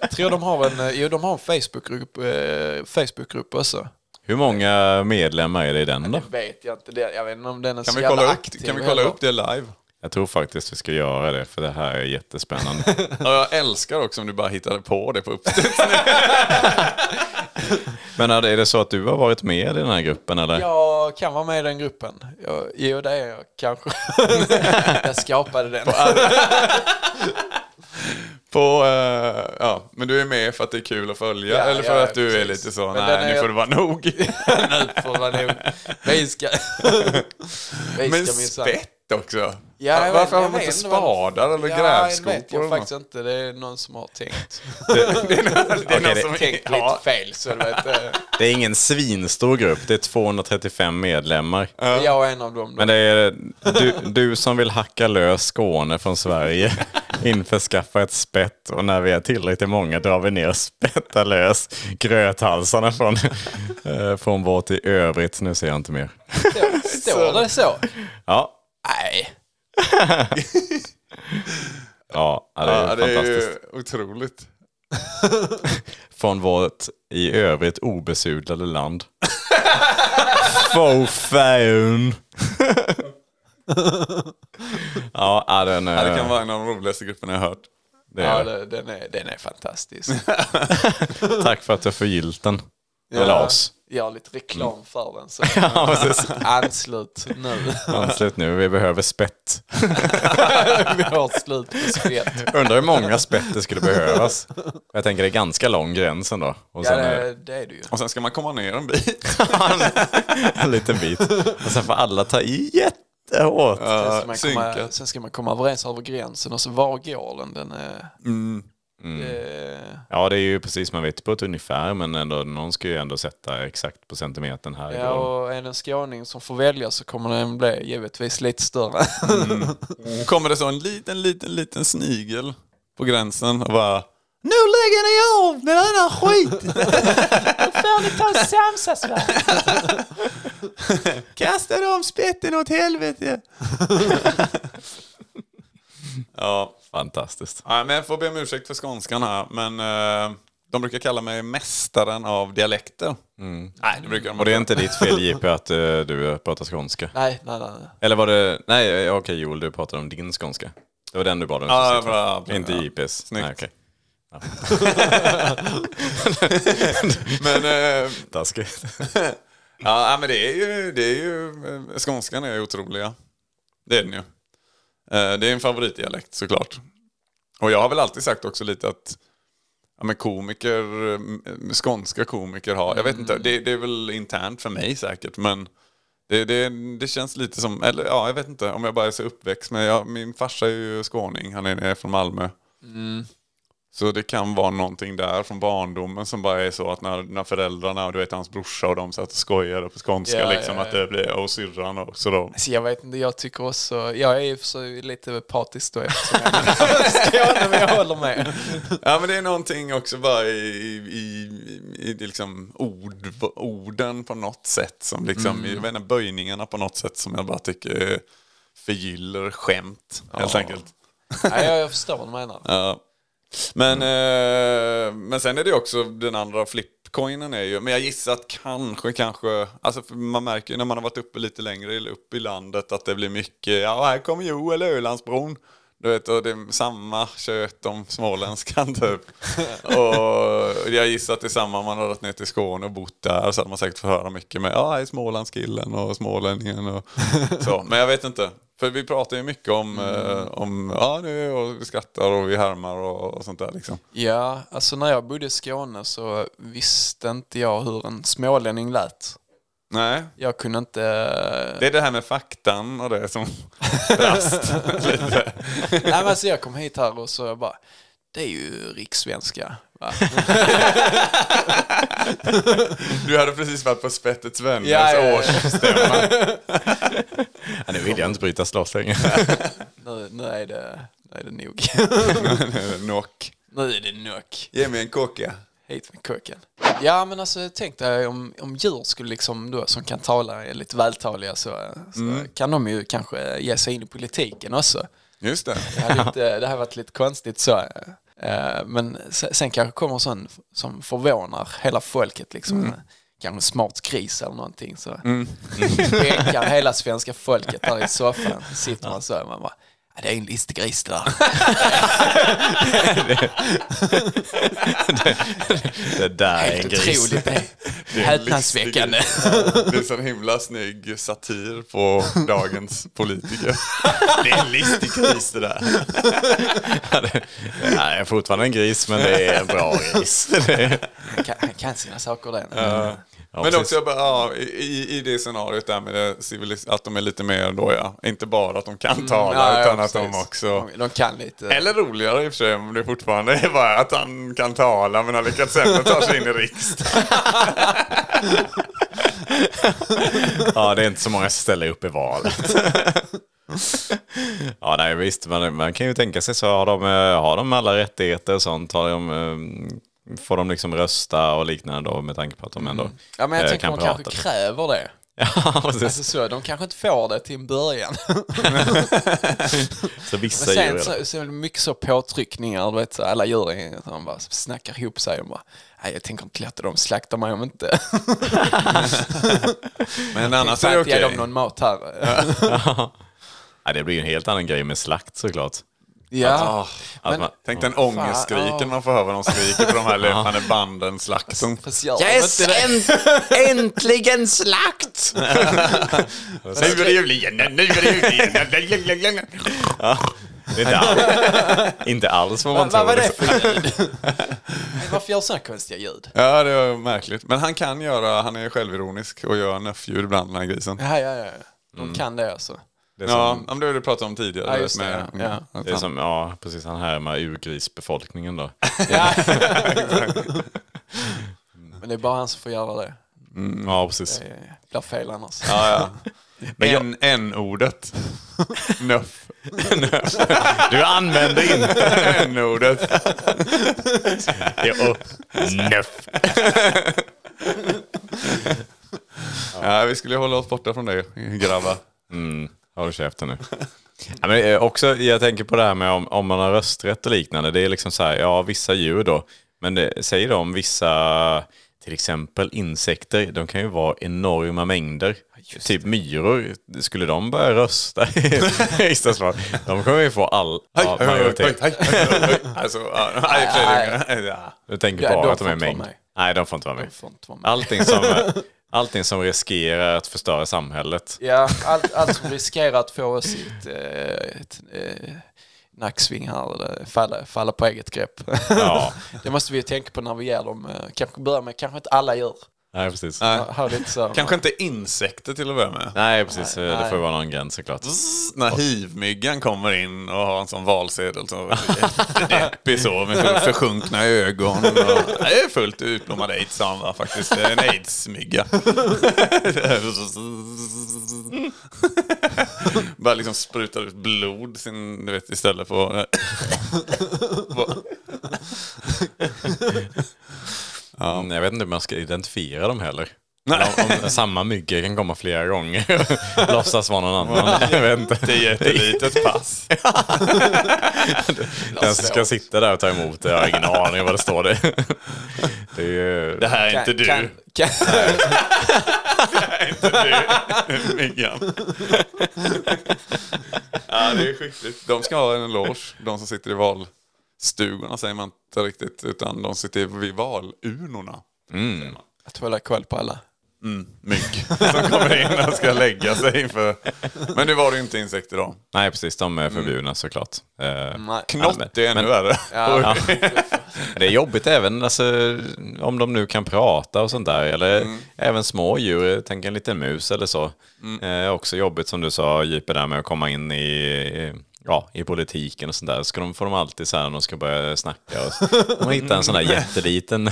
S5: Jag tror de har en, eh, jo de har en Facebookgrupp eh, Facebookgrupp också.
S3: Hur många medlemmar är det i den då?
S5: Det vet jag inte, det, jag vet inte om den är
S4: Kan
S5: så
S4: vi,
S5: jävla
S4: kolla upp,
S5: aktiv
S4: kan vi kolla
S5: heller.
S4: upp det live?
S3: Jag tror faktiskt vi ska göra det, för det här är jättespännande.
S4: Ja, jag älskar också om du bara hittade på det på uppstuds.
S3: Men är det, är det så att du har varit med i den här gruppen eller?
S5: Jag kan vara med i den gruppen. Jag, jo, det är jag kanske. jag skapade den.
S4: På, eh, ja, men du är med för att det är kul att följa
S5: Ja,
S4: eller för
S5: ja,
S4: att du är
S5: precis.
S4: lite så,
S5: Men den
S4: nej
S5: är
S4: nu
S5: jag-
S4: får det vara nog.
S5: nu får man nog... Vi ska... Vi
S4: men
S5: ska minsann-
S4: spett också.
S5: Ja, jag
S4: Var-
S5: vet-
S4: Varför har
S5: jag
S4: de inte
S5: vet inte vad-
S4: spadar eller
S5: Ja,
S4: grävskopor?
S5: det vet jag
S4: eller något?
S5: faktiskt inte. Det är någon som har tänkt.
S4: Det är någon
S3: det-
S4: som
S5: tänkt
S4: ja.
S5: lite fel. Så du vet, eh,
S3: Det är ingen svinstor grupp, det är 235 medlemmar.
S5: jag är en av dem. Då.
S3: Men det är du, du som vill hacka lös Skåne från Sverige. Införskaffa ett spett och när vi är tillräckligt många drar vi ner och spettar lös gröthalsarna från, eh, från vårt i övrigt. Nu ser jag inte mer.
S5: Står det så?
S3: Ja,
S5: Nej.
S3: ja ja, det är
S4: Ja, det är
S3: fantastiskt.
S4: ju otroligt.
S3: Från vårt i övrigt obesudlade land. Fåfäun. ja, ja, den,
S4: Ja, det kan
S3: eh,
S4: vara en av de roligaste grupperna jag har hört.
S3: det
S5: Ja,
S3: är,
S5: det, den, är, den är fantastisk.
S3: Tack för att du förgyllt den.
S5: Ja.
S3: Eller oss.
S5: Gör lite
S4: Mm.
S5: reklam för den. Så.
S3: Ja, precis.
S5: Anslut nu.
S3: Anslut nu, vi behöver spett.
S5: Vi har slut på spett.
S3: Undrar hur många spett det skulle behövas. Jag tänker det är ganska lång gräns ändå. Och
S5: Ja,
S3: sen är
S5: det, det är det ju.
S4: Och sen ska man komma ner en
S3: Mm.
S4: bit.
S3: eh, en liten bit. Och sen får alla ta i jättehårt.
S5: Sen ska, man komma,
S4: synkat.
S5: sen ska man komma överens över gränsen och så var går den? den är,
S4: Mm.
S5: Eh,
S3: Ja, det är ju precis man vet på ett ungefär, men ändå, någon ska ju ändå sätta exakt på centimetern här.
S5: ja,
S3: Ja,
S5: och är det en skåning som får välja så kommer den bli givetvis lite större.
S4: Kommer det så en liten, liten, liten snigel på gränsen och bara Nu lägger ni av med denna skit! Kasta de spetten åt helvete! ja,
S3: Fantastiskt.
S4: ja, men jag får be om ursäkt för skånskan här, men eh, de brukar kalla mig mästaren av dialekter. Nej, det brukar de
S3: Mm. Och det är inte ditt fel JP att eh, du pratar skånska?
S5: nej, nej, nej. nej.
S3: Eller var det, nej eh, okej Joel, du pratade om din skånska. Det var den du bad om.
S4: Ja,
S3: sist, va?
S4: bra, bra.
S3: Inte JP's.
S4: Snyggt.
S3: Nej, okej.
S4: Men, eh,
S3: Taskigt.
S4: Ja, nej, men det är ju, det är ju eh, skånskan är ju otroliga. Det är den ju. Eh, Det är en favoritdialekt såklart. Och jag har väl alltid sagt också lite att ja, men komiker, eh, skånska komiker har, jag vet inte,
S5: Mm.
S4: det, det är väl internt för mig säkert, men det, det, det känns lite som, eller ja, jag vet inte om jag bara är så uppväxt, men jag, min farsa är ju skåning, han är, är från Malmö.
S5: Mm.
S4: Så det kan vara någonting där från barndomen som bara är så att när, när föräldrarna, och du vet hans brorsa och de satt och skojade på skånska
S5: Ja,
S4: liksom
S5: ja,
S4: att det blir, och syrran också då.
S5: Alltså jag vet inte, jag tycker också, jag är ju för sig lite patisk då eftersom jag är från Skåne, men jag håller med.
S4: Ja men det är någonting också bara i, i, i, i det liksom ord, orden på något sätt som liksom, jag vet inte, böjningarna på något sätt som jag bara tycker eh, förgyller skämt helt enkelt.
S5: Nej, jag, jag förstår vad du menar.
S4: Ja. Men, eh, men sen är det ju också den andra flipcoinen är ju, men jag gissar att kanske, kanske, alltså för man märker ju när man har varit uppe lite längre eller upp i landet att det blir mycket, ja här kommer Joel Ölandsbron. Du vet, och det är samma kött om småländskan typ. och jag gissar att det är samma om man har varit ner till Skåne och bott där så hade man säkert fått höra mycket med, ja här är Smålandskillen och smålänningen och så. Men jag vet inte. För vi pratar ju mycket om, eh, om ja, nu, och vi skrattar och vi härmar och, och sånt där. Liksom.
S5: Ja, alltså när jag bodde i Skåne så visste inte jag hur en smålänning lät.
S4: Nej,
S5: Jag kunde inte... eh,
S4: det är det här med faktan och det som brast lite.
S5: Nej, men alltså jag kom hit här och så jag bara, det är ju rikssvenska. Va?
S4: Du hade precis varit på Spettets vänners
S5: Ja, ja, ja.
S4: årsstämma.
S3: Ja, nu vill jag inte bryta slåss längre.
S5: Nu, nu, är det, nu är det nog.
S4: Nock.
S5: nu är det nog.
S4: Ge mig en kocka.
S5: Hit med kuken. Ja men alltså tänk dig om, om djur skulle liksom då, som kan tala är lite vältaliga så, så kan de ju kanske ge sig in i politiken också.
S4: Just det.
S5: Det hade, inte, det hade varit lite konstigt så. Eh, Men se- sen kanske kommer en sån som förvånar hela folket liksom. Kanske en smart gris eller någonting Mm. så. Bänkar hela svenska folket där i soffan. Så sitter man så här, man bara, Ja, det är en listegris det där.
S3: Det där är en
S5: Helt
S3: gris.
S5: otroligt. det är Häpnadsväckande.
S4: Det är så en himla snygg satir på dagens politiker. Det är en listig kris det där.
S3: Nej, jag är fortfarande en gris, men det är en bra gris. Det är-
S5: Han kan, han kan sina saker den.
S3: Ja,
S4: Men
S3: precis.
S4: också jag bara, ja, i, i- i det scenariot där med det civilis- att de är lite mer då ja, inte bara att de kan tala
S5: ja,
S4: utan
S5: ja,
S4: att de
S5: precis.
S4: också...
S5: De, de kan lite.
S4: Eller roligare i och för sig om det fortfarande är bara att han kan tala men har lyckats ändå ta sig in i riksdagen.
S3: Ja, det är inte så många som ställer upp i valet. Ja, nej visst, men man kan ju tänka sig så. Har de, eh, har de alla rättigheter och sånt? Har de, eh, får de liksom rösta och liknande då med tanke på att de ändå
S5: Mm. Ja, men jag
S3: eh,
S5: tänker
S3: kan
S5: de kanske
S3: prata?
S5: kräver det.
S3: Ja, precis.
S5: Alltså så, de kanske inte får det till en början.
S3: Så vissa
S5: Men
S3: djur... är
S5: sen
S3: det.
S5: så, så är det mycket så påtryckningar, du vet, så alla djur är- de bara snackar ihop sig och bara Nej, jag tänker inte låta dem slakta mig om inte.
S4: Men annars
S5: Fan,
S4: är det
S5: inte ge
S4: okej.
S5: dem någon mat här.
S3: Ja, det blir ju en helt annan grej med slakt såklart.
S5: Ja,
S4: Ah,
S3: Att
S5: Men-
S3: man,
S4: Tänk den ångestskriken man får höra när de skriker på de här löpande banden, slakten.
S5: fast gör yes, inte det.
S6: Äntligen slakt!
S4: Nu är det jul igen, nu är det jul igen.
S3: det är inte, all, inte alls vad man
S5: Vad- vad
S3: tror.
S5: var det
S3: liksom.
S5: Varför gör sådana konstiga ljud?
S4: Ja, det var märkligt. Men han kan göra, han är självironisk och gör nöffljud ibland, den här grisen.
S5: Ja, ja, ja. De
S3: Mm.
S5: kan det alltså.
S3: Det är
S4: Ja,
S3: som,
S4: om det har du pratat om tidigare.
S5: Ja, just det,
S4: med- Mm.
S5: ja, ja.
S4: att
S3: det är
S4: han-
S3: som, ja, precis, han härmar urgrisbefolkningen då.
S5: Men det är bara han som får göra det. Mm.
S3: Ja, precis.
S5: Det blir fel annars.
S4: N- N-ordet. Nöff.
S3: Du använder inte
S4: N-ordet.
S3: det och nöff.
S4: Ja, vi skulle ju hålla oss borta från det, grabbar.
S3: Mm, Håll käften nu. Ja, men eh, också, jag tänker på det här med om, om man har rösträtt och liknande. Det är liksom så här, ja vissa djur då. Men det, säg då om vissa, till exempel insekter, de kan ju vara enorma mängder. Typ myror, skulle de börja rösta i riksdagsval? De kommer ju få all, all majoritet.
S4: hej, hej, hej. Alltså, ja, nej, Fredrik. Ja.
S3: Du tänker
S5: Ja,
S3: bara
S5: de
S3: att de
S5: får
S3: är
S5: inte vara
S3: mängd.
S5: med.
S3: Nej, de får inte vara med.
S5: Får inte vara med.
S3: Allting som, allting som riskerar att förstöra samhället.
S5: Ja, allt, allt som riskerar att få oss i ett, eh, ett eh, nacksving här, eller falla, falla på eget grepp.
S3: Ja,
S5: Det måste vi ju tänka på när vi ger dem, eh, kanske börja med kanske inte alla djur.
S3: nej precis.
S4: Nej.
S5: Ha lite så.
S4: Kanske inte insekter till att börja med.
S3: Nej, precis. Det
S5: nej.
S3: får ju vara någon gräns såklart.
S4: Zzz, När hivmyggan kommer in och har en sån valsedel som deppig så med försjunkna ögon. Och, det är fullt utblommad aids sa han var faktiskt. Det är en aidsmygga. Bara liksom sprutar ut blod sin, du vet, istället för... på-
S3: Mm, Jag vet inte hur man ska identifiera dem heller.
S4: Nej.
S3: Om, om samma mygga kan komma flera gånger och låtsas vara någon annan. Jag vet inte.
S4: Det är jättelitet pass.
S3: Den som ska sitta där och ta emot det, jag har ingen aning om vad det står det. Det är ju...
S4: Det här är
S5: Kan-
S4: inte du.
S5: Kan, kan,
S4: du. Myggan. ja, det är skickligt. De ska ha en eloge, de som sitter i valstugorna säger man inte riktigt, utan de sitter vid valurnorna.
S5: att hålla koll på alla.
S4: Mygg som kommer in och ska lägga sig inför... Men nu var det ju inte insekter då.
S3: Nej, precis. De är förbjudna såklart. Eh,
S4: Mm.
S5: Nej.
S4: Knott är ännu värre.
S5: Ja,
S3: Det är jobbigt även alltså, om de nu kan prata och sånt där. Eller även små djur, tänk en liten mus eller så. Eh, också jobbigt som du sa, Jipe, där med att komma in i, ja, i politiken och sånt där. Ska de, får de alltid så här när de ska börja snacka. Och, de har hittat en sån där jätteliten,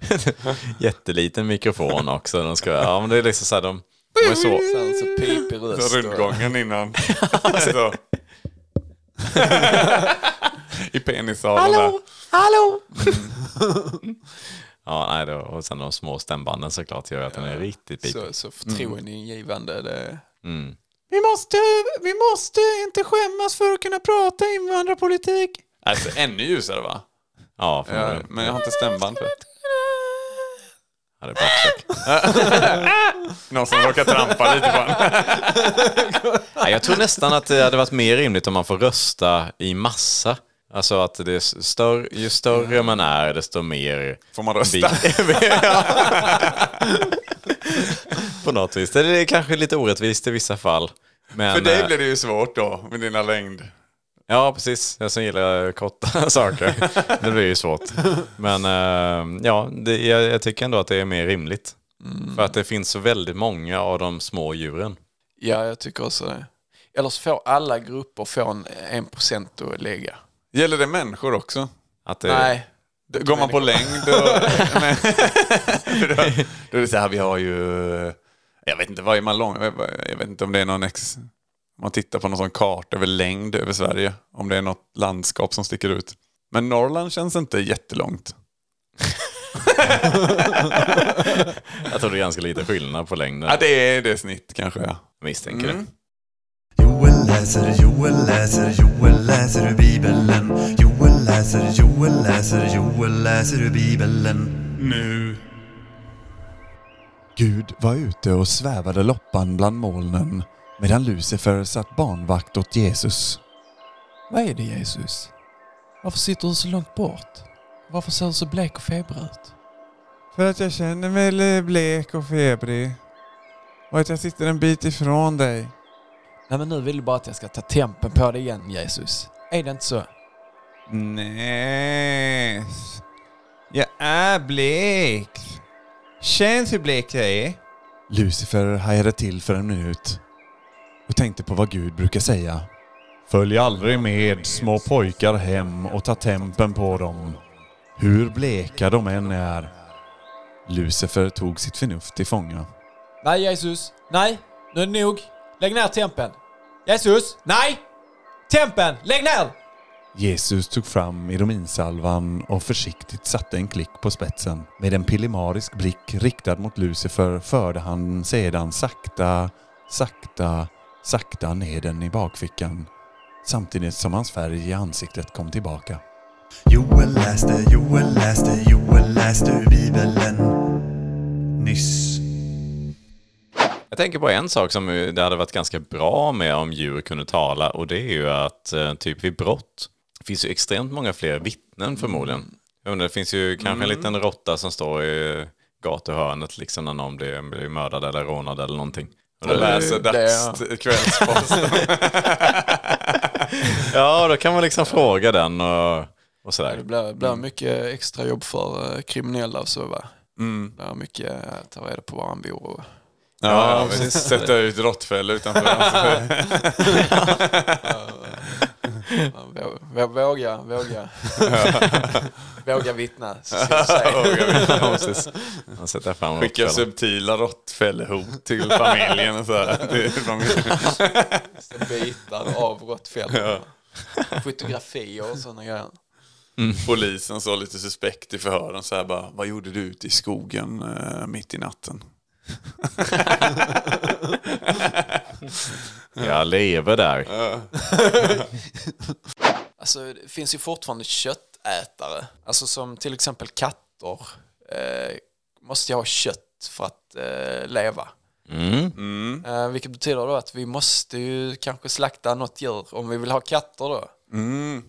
S3: jätteliten mikrofon också. De ska, ja, men det är liksom så här, de, de är så...
S5: sen så pip i röst.
S4: Så
S5: och-
S4: rundgången innan. Alltså. så. I penissalen där.
S3: Ja, nej, då, och sen de små stämbanden såklart gör att den är riktigt pipig.
S5: Så, så förtroendeingivande. Det,
S4: Vi måste, vi måste inte skämmas för att kunna prata invandrarpolitik. Alltså ännu ljusare va?
S3: Ja,
S4: Ja,
S3: förmodligen.
S4: men jag har inte stämband för det.
S3: Ja, det är typ. baksäck.
S4: Någon som råkar trampa lite på en.
S3: Nej, jag tror nästan att det hade varit mer rimligt om man får rösta i massa. Alltså att det är s- större, ju större man är desto mer...
S4: Får man rösta?
S3: På något vis. Det är kanske lite orättvist i vissa fall. Men,
S4: För dig
S3: eh,
S4: blir det ju svårt då, med dina längd.
S3: Ja, precis. Jag som gillar korta saker. Det blir ju svårt. Men eh, ja, det, jag, jag tycker ändå att det är mer rimligt. För att det finns så väldigt många av de små djuren.
S5: Ja, jag tycker också det. Eller så får alla grupper få en, en procent att lägga.
S4: Gäller det människor också?
S3: Att det,
S5: Nej,
S4: Går man på längd och... Nej. För då, då är det så här, vi har ju... Jag vet inte, vad är man lång? Jag vet inte om det är någon ex... Om man tittar på någon sån karta över längd över Sverige. Om det är något landskap som sticker ut. Men Norrland känns inte jättelångt.
S3: Jag tror det är ganska lite skillnad på längden.
S4: Ja, det är det snitt kanske. Ja.
S3: Misstänker det.
S6: Mm. Joel läser, Joel läser, Joel läser ur Bibeln. Joel läser, Joel läser, Joel läser ur Bibeln.
S2: Nu.
S4: Gud var ute och svävade loppan bland molnen medan Lucifer satt barnvakt åt Jesus.
S7: Vad är det Jesus? Varför sitter du så långt bort? Varför ser du så blek och febrig ut?
S8: För att jag känner mig li- blek och febrig. Och att jag sitter en bit ifrån dig.
S7: Nej men nu vill du bara att jag ska ta tempen på dig igen Jesus. Är det inte så?
S8: Nej. Jag är blek. Känns hur blek jag är.
S4: Lucifer hajade till för en minut och tänkte på vad Gud brukar säga. Följ aldrig med små pojkar hem och ta tempen på dem, hur bleka de än är. Lucifer tog sitt förnuft till fånga.
S7: Nej Jesus, nej! Nu är det nog! Lägg ner tempen! Jesus, nej! Tempen, lägg ner!
S4: Jesus tog fram ironinsalvan och försiktigt satte en klick på spetsen. Med en pillemarisk blick riktad mot Lucifer förde han sedan sakta, sakta, sakta ner den i bakfickan. Samtidigt som hans färg i ansiktet kom tillbaka.
S6: Joel läste, Joel läste, Joel läste ur Bibeln. Nyss.
S3: Jag tänker på en sak som eh, det hade varit ganska bra med om djur kunde tala och det är ju att eh, typ vid brott finns ju extremt många fler vittnen förmodligen. Jag undrar, det finns ju kanske en liten råtta som står i gatuhörnet liksom när någon blir, blir mördad eller rånad eller någonting. Och då-
S4: Läser dags, kvällsposten.
S3: ja, då kan man liksom fråga den och, och
S5: det
S3: sådär.
S5: blir, blir mycket extra jobb för eh, kriminella och så va? Det är mycket eh, att ta reda på var han bor. och-
S4: Ja, ja precis. Sätta ut råttfällor utanför hans
S5: Ja, vå- vå- Våga, våga. våga vittna. så ska jag säga.
S3: Ja, precis. Man sätter fram
S4: Skicka
S3: råttfällan.
S4: subtila råttfällehot till familjen och sådär. Till familjen.
S5: Så Bitar av råttfällor. Fotografier och sådana grejer.
S4: Polisen så lite suspekt i förhören så här bara, vad gjorde du ute i skogen eh, mitt i natten?
S3: Jag lever där.
S5: Alltså det finns ju fortfarande köttätare. Alltså som till exempel katter. Eh, måste ju ha kött för att eh, leva.
S3: Mm.
S5: Eh, vilket betyder då att vi måste ju kanske slakta något djur om vi vill ha katter då.
S4: Mm.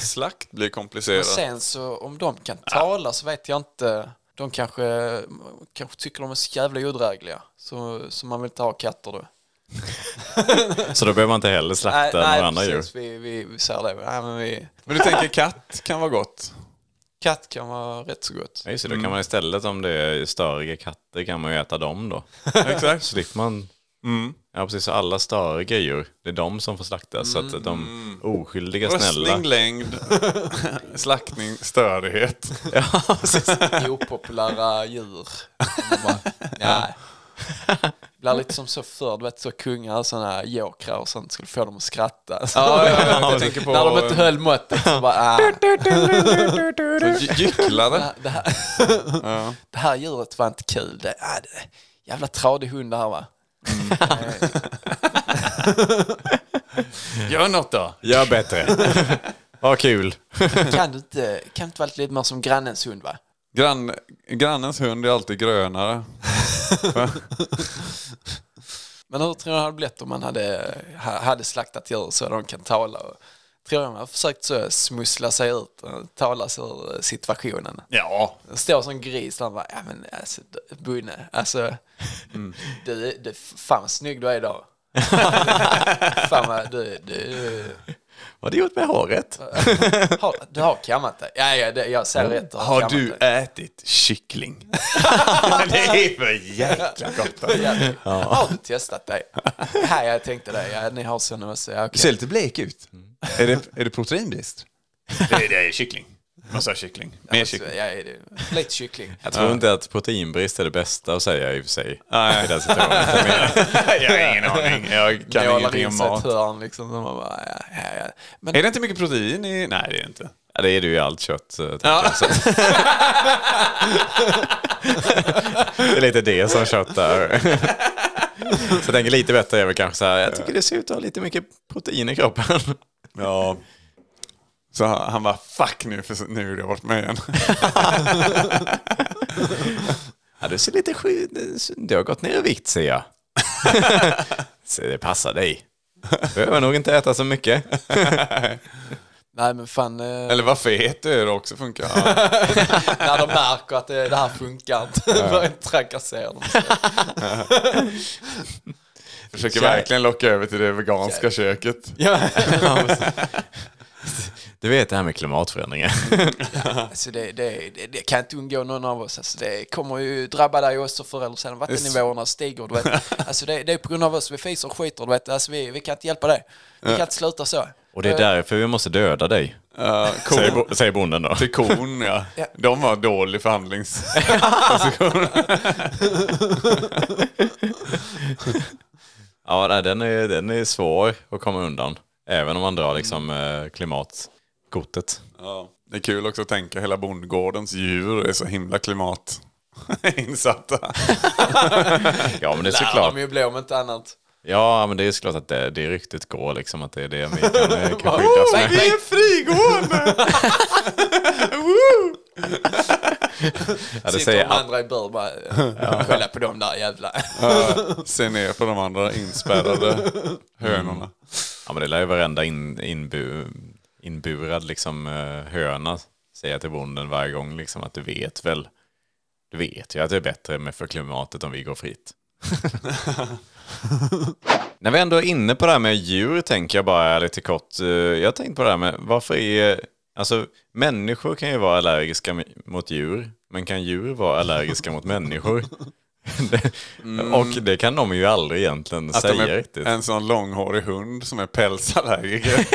S4: Slakt blir
S5: Och
S4: komplicerat.
S5: sen så om de kan tala så vet jag inte. De kanske, kanske tycker de är så jävla odrägliga. Så, så man vill inte ha katter då.
S3: Så då behöver man inte heller slakta några andra djur.
S5: precis. Vi, vi, vi säger det. Nej, men vi,
S4: Men du tänker katt kan vara gott?
S5: katt kan vara rätt så gott.
S3: Ja, just det,
S4: Mm.
S3: då kan man istället om det är störiga katter kan man ju äta dem då.
S4: Exakt.
S3: Slipper man...
S4: Mm.
S3: Ja precis, så alla störiga djur, det är de som får slaktas. Så att de oskyldiga
S4: Mm. Röstning,
S3: snälla...
S4: längd, slaktning, störighet.
S3: Ja, precis.
S5: Opopulära djur. Man bara, Nej. Det blir lite som så förr, du vet så kungar, sådana jokrar och sånt skulle få dem att skratta.
S4: Jag tänker på
S5: När de inte höll måttet så bara ah,
S4: gy- gycklare.
S5: det, här, det här djuret var inte kul. Det, ah, det, jävla tradig hund det här va.
S4: Gör något då.
S3: Gör bättre. Vad kul.
S5: Kan du inte, kan du inte vara lite mer som grannens hund va?
S4: Grann, grannens hund är alltid grönare.
S5: Men hur tror jag det hade blivit om man hade, ha- hade slaktat djur så de kan tala? Och, tror jag man har försökt så smussla sig ut, eh, tala sig ur eh, situationen.
S4: Ja.
S5: Står som gris där och bara, ja men alltså d- Bunne, alltså du, du, fan vad snygg du är idag. fan vad, du, du,
S3: Vad har du gjort med håret?
S5: har, du har kammat dig. Ja, ja det, jag ser rätt. du
S4: Har
S5: kammat
S4: du
S5: dig.
S4: ätit kyckling? det är för jäkla gott. alltså.
S5: Ja, det- Har du testat dig? Ja, jag tänkte det. Ja, ni har sådana. Så, ja,
S4: Du
S5: okej.
S4: ser lite blek ut. Mm. Är det, är det proteinbrist? det, är, det är kyckling. Massa kyckling. Mer
S5: Så,
S4: kyckling.
S5: ja, är det- Lite kyckling.
S3: Jag tror inte att proteinbrist är det bästa att säga i och för sig. Nej. I den situationen.
S4: Jag har ingen aning. Jag kan
S5: Målar
S4: ingenting
S5: in
S4: om
S5: sig i ett
S4: mat.
S5: hörn liksom. Så man bara, ja, ja, ja. Men
S4: Är det inte mycket protein i... Nej, det är det inte.
S3: Ja, det är det ju i allt kött. eh, tänker Jag, så. att- det är lite det som kött är. Så jag tänker lite bättre är väl kanske så här, jag tycker det ser ut att ha lite mycket protein i kroppen.
S4: Ja. Så han, han bara fuck nu, för nu är jag bort mig igen.
S3: Ja, du ser lite sjuk, du har gått ner i vikt ser jag. Så det passar dig. Du behöver nog inte äta så mycket.
S5: Nej men fan, eh,
S4: Eller vad fet du är det också funkar. Ja.
S5: när de märker att det, det här funkar inte, börjar trakassera dem.
S4: Försöker verkligen locka över till det veganska köket.
S3: Du vet det här med klimatförändringar.
S5: Alltså det, det, det, det kan inte undgå någon av oss. Alltså det kommer ju drabba dig också förr eller senare. Vattennivåerna stiger. Du vet. Alltså det, det är på grund av oss. Vi fiser och skiter. Du vet. Alltså vi, vi kan inte hjälpa dig. Vi kan inte sluta så. Eh,
S3: Och det är därför vi måste döda dig.
S4: Uh,
S3: Säger, bo- säger bonden då.
S4: till kon, ja.
S5: Ja.
S4: De har dålig förhandlings...
S3: Ja, nej, den är, den är svår att komma undan. Även om man drar liksom
S4: Mm.
S3: eh, klimatkortet.
S4: Det är kul också att tänka, hela bondgårdens djur är så himla klimatinsatta.
S3: Ja, men det är
S5: Lär
S3: såklart.
S5: dem ju bli om inte annat.
S3: Ja, men det är såklart att det, det ryktet går liksom att det är det vi kan, eh, kan skyddas med.
S5: Nej,
S3: Ja, det
S5: sitter
S3: säger
S5: de andra i bur bara. eh, Kolla på dem där jävla.
S4: Se ner på de andra inspärrade hönorna.
S3: Mm. Ja, men det lär ju varenda in, inbu, inburad liksom, eh, höna säga till bonden varje gång liksom, att du vet väl. Du vet ju att det är bättre med för klimatet om vi går fritt. När vi ändå är inne på det här med djur tänker jag bara lite kort. eh, Jag tänkte på det här med varför är... Alltså människor kan ju vara allergiska mi- mot djur, men kan djur vara allergiska mot människor? Det- Och det kan de ju aldrig egentligen
S4: Mm. Att de
S3: säga
S4: är
S3: riktigt.
S4: en sån långhårig hund som är pälsallergiker.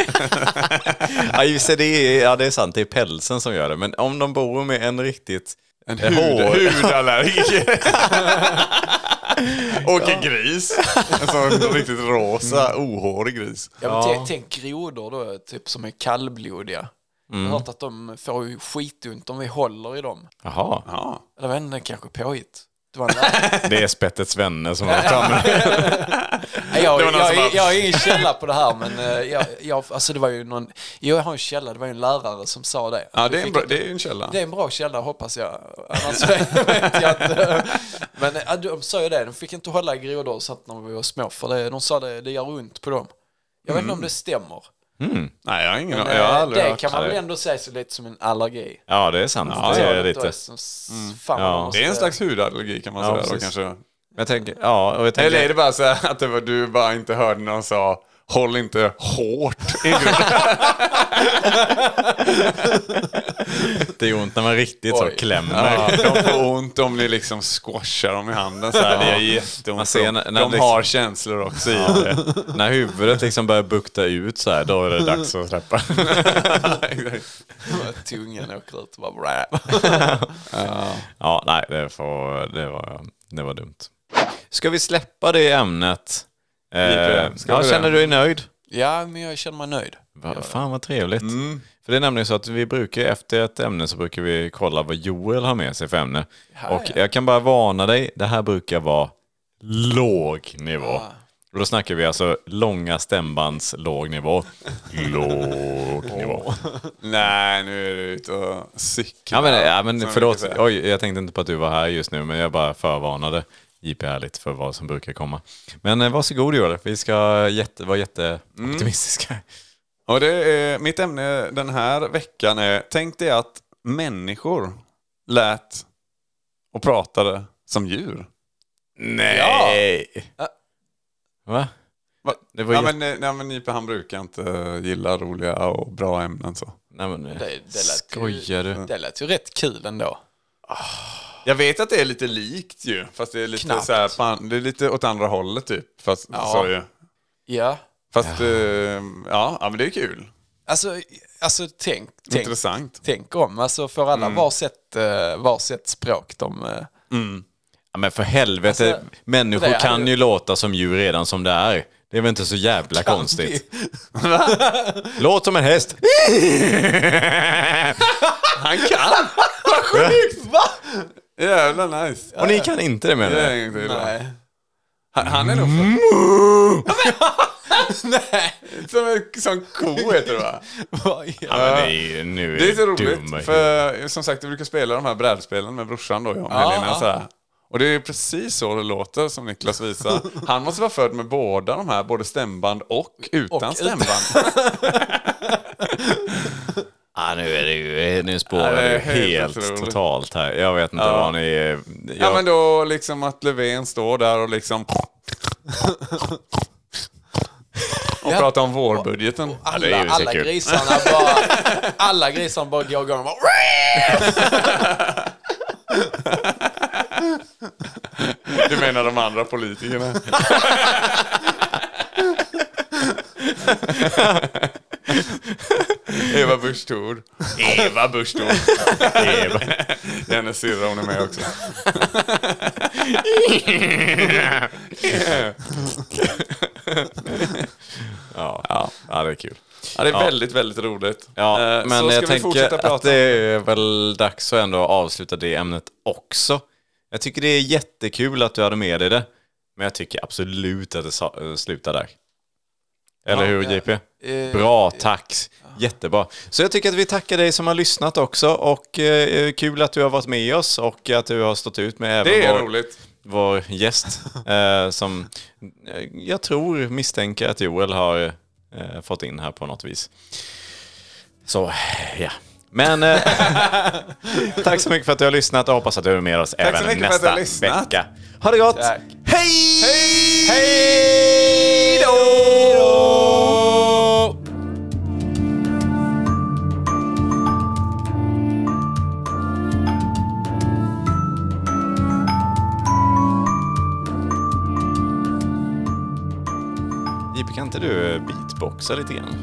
S3: Ja, just det, det är, ja, det är sant. Det är pälsen som gör det. Men om de bor med en riktigt...
S4: En
S3: Eh,
S4: hud,
S3: hår.
S4: hudallergiker. Och en gris. En sån riktigt rosa, ohårig gris.
S5: Ja, men tänk- Tänk grodor då, typ som är kallblodiga.
S3: Mm.
S5: Jag har hört att de får ju skitont om vi håller i dem.
S3: Jaha,
S4: Ja.
S5: Eller jag vet inte, kanske påhitt. Det var en lärare.
S3: det är spettets vänner som har tagit med
S5: Nej, jag,
S4: Det var någon
S5: jag,
S4: som
S5: jag,
S4: bara-
S5: jag har ingen källa på det här men eh, jag, jag, alltså det var ju någon, jo, jag har en källa, det var ju en lärare som sa det.
S4: Ja, det är, en
S5: Fick
S4: bra,
S5: ett-
S4: det är en källa.
S5: det är en bra källa hoppas jag. Annars vet jag inte. Men eh, ja, de sa ju det, de fick inte hålla i grodor så att när vi var små för det, de sa det, det gör ont på dem. Jag vet inte om det stämmer.
S4: Nej, jag har ingen
S5: Men,
S4: Mm. Jag har
S5: eh,
S4: aldrig
S5: det
S4: hört.
S5: kan man väl
S3: det.
S5: ändå säga så lite som en allergi.
S3: Ja, det är sant. det är
S5: Dåligt
S3: lite.
S5: och som s- Fan,
S3: Ja.
S5: man måste-
S4: Mm. Det är en slags hudallergi kan man
S3: Ja,
S4: säga då
S3: precis.
S4: kanske.
S3: Jag tänker, ja, och jag tänker,
S4: Eller är det bara så här att det var, du bara inte hörde någon sa Håll inte hårt i grunden.
S3: det är ont när man riktigt så
S5: Oj.
S3: klämmer.
S4: Ja, de får ont om ni liksom squashar dem i handen så här. Det är
S3: Man
S4: jätteont.
S3: ser
S4: De,
S3: när- när
S4: de
S3: liksom-
S4: har känslor också i det.
S3: När huvudet liksom börjar bukta ut så här, då är det dags att släppa.
S4: Exakt.
S5: Tungan åker ut och bara...
S3: Ja, nej, det, får, det, var, det var dumt. Ska vi släppa det ämnet? Eh,
S4: Gipe, ska
S3: ja,
S4: vi det?
S3: känner du dig nöjd?
S5: Ja, men jag känner mig nöjd.
S3: Va, fan vad trevligt.
S5: Mm.
S3: För det är nämligen så att vi brukar efter ett ämne så brukar vi kolla vad Joel har med sig för ämne.
S5: Ja,
S3: och
S5: ja. Ah.
S3: jag kan bara varna dig, det här brukar vara låg nivå. Och då snackar vi alltså långa stämbands låg nivå. Låg nivå.
S4: Nej, nu är du ute och cyklar.
S3: Ja men, ja, men
S4: som vi
S3: förlåt,
S4: brukar säga.
S3: Oj, jag tänkte inte på att du var här just nu men jag bara förvarnade JP ärligt för vad som brukar komma. Men eh, varsågod Joel, vi ska jätte, vara jätteoptimistiska.
S4: Och det är, mitt ämne den här veckan är, tänk dig att människor lät och pratade som djur.
S5: Mm.
S3: Nej! Va?
S4: Va?
S3: Det var
S4: ja,
S3: jätte-
S4: men, eh, nej, men Nipe han brukar inte eh, gilla roliga och bra ämnen så.
S3: Nej, men, eh,
S5: Det, det, lät ju,
S3: skojar du?
S5: det lät ju rätt kul ändå.
S4: Jag vet att det är lite likt ju, fast det är lite,
S5: Knappt.
S4: så här, fan, det är lite åt andra hållet typ. Fast,
S5: Ja.
S4: så är det.
S5: Ja,
S4: fast ja. Ja, ja, men det är kul.
S5: alltså, alltså tänk, tänk,
S4: Intressant.
S5: tänk om. Alltså får
S3: Mm.
S5: alla varsitt, eh, varsitt språk de... eh,
S3: Ja, men för helvete,
S5: Alltså, det
S3: människor
S5: är
S3: kan
S5: ju-
S3: ju låta som djur redan som det är. Det är väl inte så jävla konstigt. Låt som en häst.
S4: Han kan! Vad sjukt! Va? Jävla nice.
S3: Och ni kan inte det menar
S4: Det är
S3: jag.
S4: inget illa.
S5: Nej.
S4: Han, han är nog för... Nej! Som en sån ko heter det va?
S3: Ja, men det är, ju- nu är
S4: Det är lite
S3: du
S4: roligt,
S3: dum.
S4: för som sagt jag brukar spela de här brädspelen med brorsan då om helgerna.
S5: ja.
S4: Så här. Och det är precis så det låter som Niklas visar. Han måste vara född med båda de här, både stämband och utan
S5: utan.
S4: stämband.
S3: Ja, nu är det ju, nu spårar
S4: det är
S3: du
S4: helt
S3: helt
S4: otroligt.
S3: totalt här. Jag vet inte vad ni... Jag,
S4: ja men då liksom att Löfven står där och liksom... och pratar om vårbudgeten.
S5: Alla,
S3: det är ju så
S5: alla
S3: kul.
S5: grisarna bara... Alla grisarna bara går igång och bara...
S4: Du menar de andra politikerna? Eva Busch Thor. Eva Busch Thor. Eva. Hennes syrra, hon är med också.
S3: ja, ja. ja, det är kul.
S4: Ja, det är väldigt, väldigt roligt.
S3: Ja,
S4: Eh,
S3: men
S4: så ska
S3: jag
S4: vi fortsätta
S3: tänker att
S4: prata.
S3: det är väl dags att ändå avsluta det ämnet också. Jag tycker det är jättekul att du hade med dig det, men jag tycker absolut att det sa- eh, slutar där. Eller hur JP?
S5: Eh,
S3: Bra, tack. Jättebra. Så jag tycker att vi tackar dig som har lyssnat också och eh, kul att du har varit med oss och att du har stått ut med även
S4: Det är
S3: vår,
S4: roligt.
S3: vår gäst eh, som eh, jag tror misstänker att Joel har eh, fått in här på något vis. Så, ja. Men eh, tack så mycket för att du har lyssnat och hoppas att du är med oss
S4: så
S3: även
S4: mycket för att du
S3: nästa
S4: har lyssnat.
S3: vecka. Ha det gott!
S5: Tack.
S3: Hej! Hej då! JP, kan inte du beatboxa lite grann?